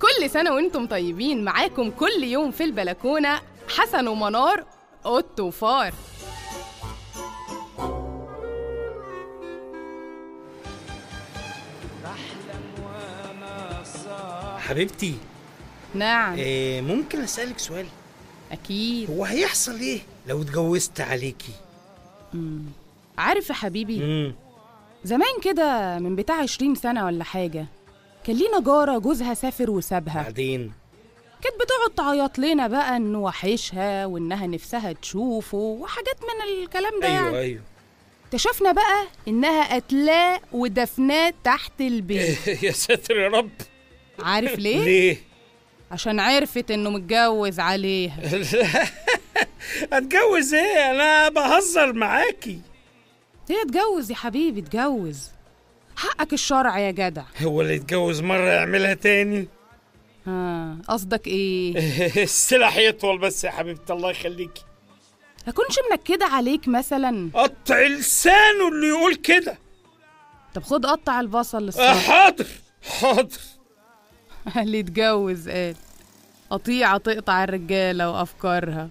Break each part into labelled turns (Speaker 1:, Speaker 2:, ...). Speaker 1: كل سنة وانتم طيبين معاكم كل يوم في البلكونة حسن ومنار اوتو فار
Speaker 2: حبيبتي
Speaker 1: نعم
Speaker 2: آه ممكن اسالك سؤال
Speaker 1: اكيد
Speaker 2: هو هيحصل ايه لو اتجوزت عليكي
Speaker 1: عارف يا حبيبي
Speaker 2: امم
Speaker 1: زمان كده من بتاع 20 سنة ولا حاجة كان لينا جارة جوزها سافر وسابها
Speaker 2: بعدين
Speaker 1: كانت بتقعد تعيط لنا بقى انه وحشها وانها نفسها تشوفه وحاجات من الكلام ده يعني
Speaker 2: ايوه ايوه
Speaker 1: اكتشفنا بقى انها قتلاه ودفناه تحت البيت
Speaker 2: يا ساتر يا رب
Speaker 1: عارف ليه
Speaker 2: إيه. ليه
Speaker 1: عشان عرفت انه متجوز عليها
Speaker 2: اتجوز ايه انا بهزر معاكي
Speaker 1: هي اتجوز يا حبيبي اتجوز حقك الشرع يا جدع
Speaker 2: هو اللي يتجوز مره يعملها تاني
Speaker 1: ها قصدك ايه
Speaker 2: السلاح يطول بس يا حبيبتي الله يخليكي
Speaker 1: اكونش منكده عليك مثلا
Speaker 2: قطع لسانه اللي يقول كده
Speaker 1: طب خد قطع البصل
Speaker 2: آه،
Speaker 1: للصبح
Speaker 2: حاضر حاضر
Speaker 1: اللي اتجوز قال قطيعة تقطع الرجالة وأفكارها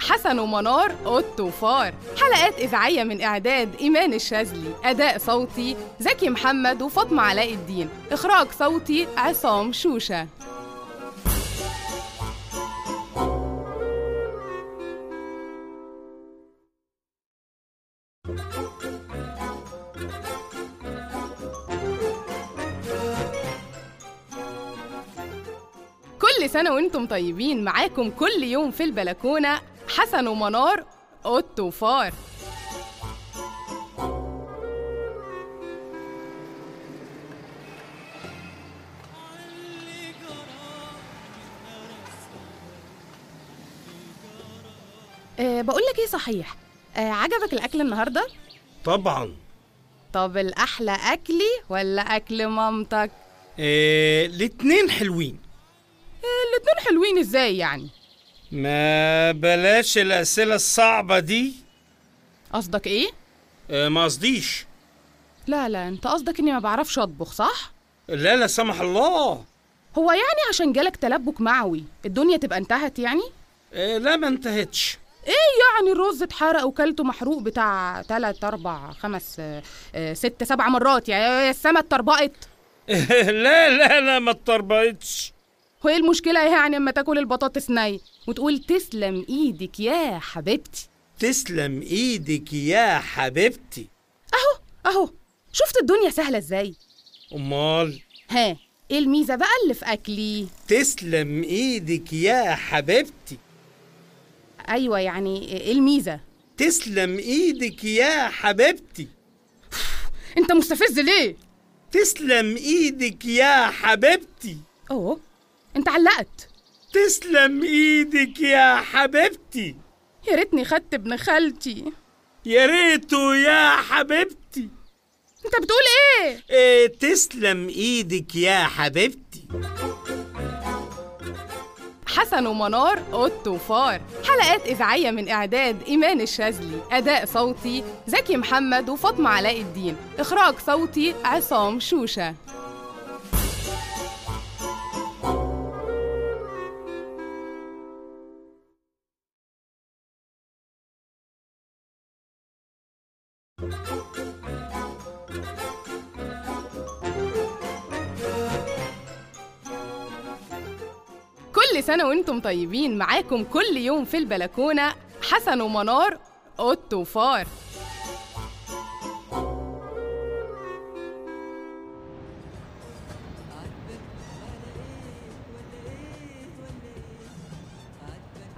Speaker 1: حسن ومنار أوتو فار حلقات إذاعية من إعداد إيمان الشاذلي أداء صوتي زكي محمد وفاطمة علاء الدين إخراج صوتي عصام شوشة كل سنة وانتم طيبين معاكم كل يوم في البلكونة حسن ومنار أوتو فار أه بقول لك ايه صحيح أه عجبك الاكل النهارده
Speaker 2: طبعا
Speaker 1: طب الاحلى اكلي ولا اكل مامتك
Speaker 2: إيه الاتنين حلوين
Speaker 1: آه، الاتنين حلوين ازاي يعني
Speaker 2: ما بلاش الأسئلة الصعبة دي
Speaker 1: قصدك ايه
Speaker 2: آه، ما قصديش
Speaker 1: لا لا انت قصدك اني ما بعرفش اطبخ صح
Speaker 2: لا لا سمح الله
Speaker 1: هو يعني عشان جالك تلبك معوي الدنيا تبقى انتهت يعني
Speaker 2: آه، لا ما انتهتش
Speaker 1: ايه يعني الرز اتحرق وكلته محروق بتاع 3 4 5 6 7 آه، مرات يعني يا السما اتطربقت
Speaker 2: لا لا لا ما اتطربقتش
Speaker 1: وايه المشكله يعني اما تاكل البطاطس ني وتقول تسلم ايدك يا حبيبتي
Speaker 2: تسلم ايدك يا حبيبتي
Speaker 1: اهو اهو شفت الدنيا سهله ازاي
Speaker 2: امال
Speaker 1: ها ايه الميزه بقى اللي في اكلي
Speaker 2: تسلم ايدك يا حبيبتي
Speaker 1: ايوه يعني ايه الميزه
Speaker 2: تسلم ايدك يا حبيبتي
Speaker 1: انت مستفز ليه
Speaker 2: تسلم ايدك يا حبيبتي
Speaker 1: اوه انت علقت
Speaker 2: تسلم ايدك يا حبيبتي
Speaker 1: يا ريتني خدت ابن خالتي
Speaker 2: يا ريته يا حبيبتي
Speaker 1: انت بتقول ايه
Speaker 2: إيه تسلم ايدك يا حبيبتي
Speaker 1: حسن ومنار اوتو فار حلقات اذاعيه من اعداد ايمان الشاذلي اداء صوتي زكي محمد وفاطمه علاء الدين اخراج صوتي عصام شوشه كل سنه وانتم طيبين معاكم كل يوم في البلكونه حسن ومنار اوتو فار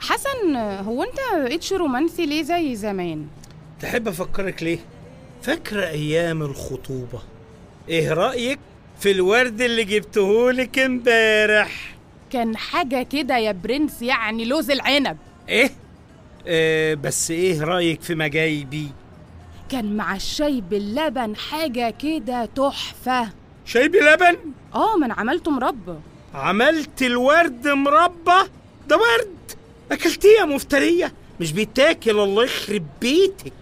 Speaker 1: حسن هو انت بقيتش رومانسي ليه زي زمان
Speaker 2: تحب افكرك ليه فاكره ايام الخطوبه ايه رايك في الورد اللي جبتهولك امبارح
Speaker 1: كان حاجة كده يا برنس يعني لوز العنب
Speaker 2: ايه آه بس ايه رايك في مجايبي
Speaker 1: كان مع الشاي باللبن حاجة كده تحفة
Speaker 2: شاي بلبن
Speaker 1: اه ما انا عملته مربى
Speaker 2: عملت الورد مربى ده ورد اكلتيه يا مفتريه مش بيتاكل الله يخرب بيتك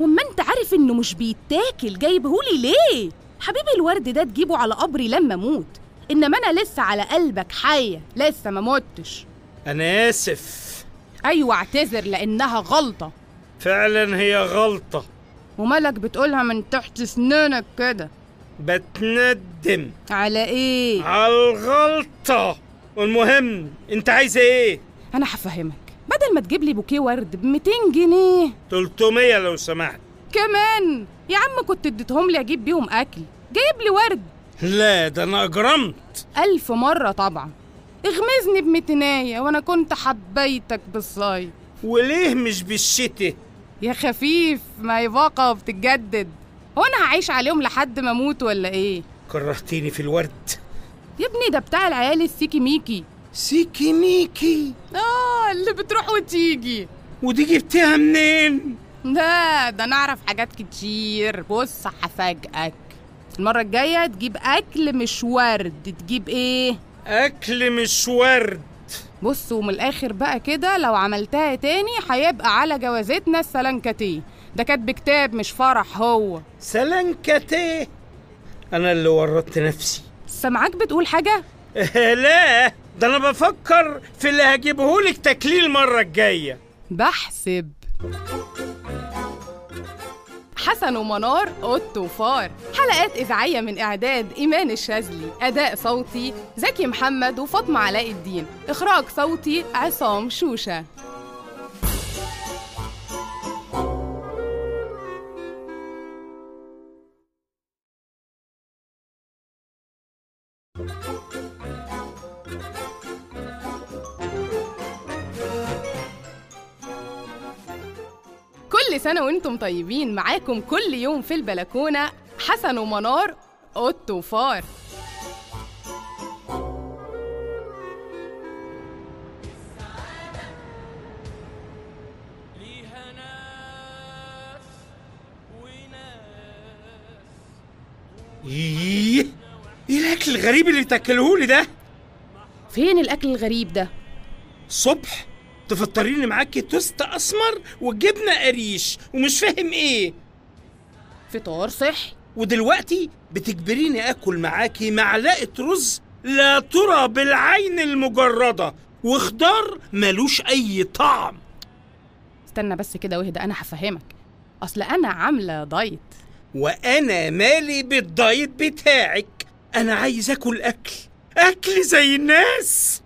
Speaker 1: وما انت عارف انه مش بيتاكل جايبهولي ليه حبيبي الورد ده تجيبه على قبري لما اموت انما انا لسه على قلبك حيه لسه ما متش
Speaker 2: انا اسف
Speaker 1: ايوه اعتذر لانها غلطه
Speaker 2: فعلا هي غلطه
Speaker 1: ومالك بتقولها من تحت سنانك كده
Speaker 2: بتندم
Speaker 1: على ايه
Speaker 2: على الغلطه والمهم انت عايزه ايه
Speaker 1: انا هفهمك بدل ما تجيب لي بوكيه ورد ب 200 جنيه
Speaker 2: 300 لو سمحت
Speaker 1: كمان يا عم كنت اديتهم لي اجيب بيهم اكل جايب لي ورد
Speaker 2: لا ده انا اجرمت
Speaker 1: ألف مرة طبعا اغمزني بمتناية وأنا كنت حبيتك بالصيف
Speaker 2: وليه مش بالشتي
Speaker 1: يا خفيف ما هي باقة وبتتجدد هو أنا هعيش عليهم لحد ما أموت ولا إيه؟
Speaker 2: كرهتيني في الورد
Speaker 1: يا ابني ده بتاع العيال السيكي ميكي
Speaker 2: سيكي ميكي
Speaker 1: آه اللي بتروح وتيجي
Speaker 2: ودي جبتها منين
Speaker 1: لا ده نعرف حاجات كتير بص هفاجئك المرة الجاية تجيب أكل مش ورد تجيب إيه؟
Speaker 2: اكل مش ورد
Speaker 1: بص ومن الاخر بقى كده لو عملتها تاني هيبقى على جوازتنا السلنكتيه ده كاتب كتاب مش فرح هو
Speaker 2: سلنكتيه انا اللي ورطت نفسي
Speaker 1: سامعاك بتقول حاجه
Speaker 2: لا ده انا بفكر في اللي هجيبهولك تكليل المره الجايه
Speaker 1: بحسب حسن ومنار قط وفار حلقات إذاعية من إعداد إيمان الشاذلي أداء صوتي زكي محمد وفاطمة علاء الدين إخراج صوتي عصام شوشة كل سنة وانتم طيبين معاكم كل يوم في البلكونة حسن ومنار قط وفار
Speaker 3: ليها ناس وناس
Speaker 2: ايه ايه الاكل الغريب اللي بتاكلهولي ده
Speaker 1: فين الأكل الغريب ده؟
Speaker 2: صبح تفطريني معاكي توست اسمر وجبنه قريش ومش فاهم ايه
Speaker 1: فطار صحي
Speaker 2: ودلوقتي بتجبريني اكل معاكي معلقه رز لا ترى بالعين المجرده وخضار ملوش اي طعم
Speaker 1: استنى بس كده واهدى أنا هفهمك أصل أنا عاملة دايت
Speaker 2: وانا مالي بالدايت بتاعك انا عايز اكل اكل اكل زي الناس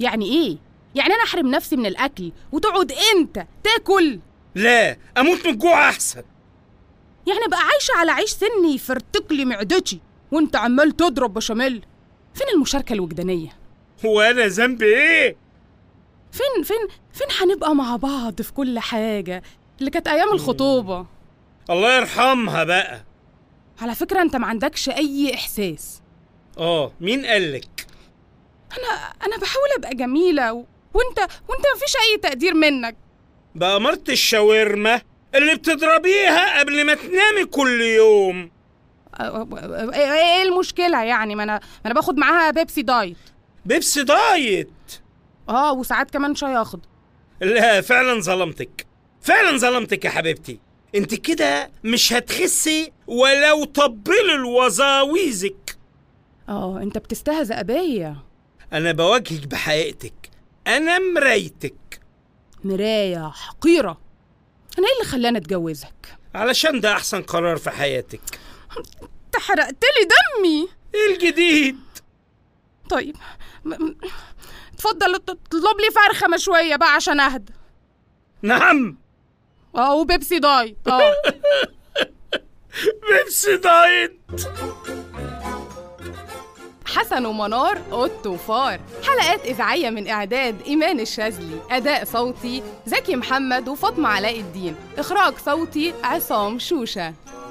Speaker 1: يعني إيه؟ يعني أنا أحرم نفسي من الأكل وتقعد أنت تاكل
Speaker 2: لا اموت من الجوع احسن
Speaker 1: يعني بقى عايشة على عيش سني يفرتك لي معدتي وأنت عمال تضرب بشاميل فين المشاركة الوجدانية؟
Speaker 2: وانا ذنبي ايه
Speaker 1: فين فين فين هنبقى مع بعض في كل حاجة اللي كانت أيام الخطوبة
Speaker 2: الله يرحمها بقى
Speaker 1: على فكرة أنت ما عندكش أي إحساس
Speaker 2: اه مين قالك
Speaker 1: أنا أنا بحاول أبقى جميلة و... وأنت وأنت مفيش أي تقدير منك
Speaker 2: بأمارة الشاورما اللي بتضربيها قبل ما تنامي كل يوم
Speaker 1: أ- أ- أ- إيه المشكلة يعني ما أنا ما أنا باخد معاها بيبسي دايت
Speaker 2: بيبسي دايت
Speaker 1: آه وساعات كمان شياخد
Speaker 2: لا فعلا ظلمتك فعلا ظلمتك يا حبيبتي انت كده مش هتخسي ولو طبلي لوظاويزك
Speaker 1: آه أنت بتستهزأ بيا
Speaker 2: انا بواجهك بحقيقتك انا مرايتك
Speaker 1: مراية حقيرة أنا إيه اللي خلاني أتجوزك؟
Speaker 2: علشان ده احسن قرار في حياتك
Speaker 1: أنت حرقت لي دمي
Speaker 2: ايه الجديد
Speaker 1: طيب م- م- اتفضل ت- اطلب لي فرخة مشوية بقى عشان أهدى
Speaker 2: نعم
Speaker 1: اه وبيبسي دايت اه
Speaker 2: بيبسي دايت
Speaker 1: حسن ومنار قط وفار حلقات إذاعية من إعداد إيمان الشاذلي أداء صوتي زكي محمد وفاطمة علاء الدين إخراج صوتي عصام شوشة